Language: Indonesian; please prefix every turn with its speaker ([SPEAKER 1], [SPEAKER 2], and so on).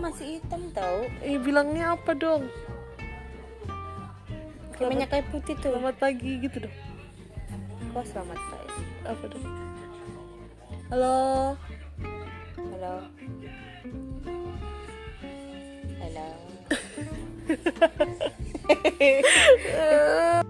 [SPEAKER 1] masih hitam tau
[SPEAKER 2] Eh, bilangnya apa dong?
[SPEAKER 1] kayak minyak kayu putih tuh
[SPEAKER 2] Selamat pagi gitu dong.
[SPEAKER 1] kok selamat pagi
[SPEAKER 2] Apa dong?
[SPEAKER 1] halo halo halo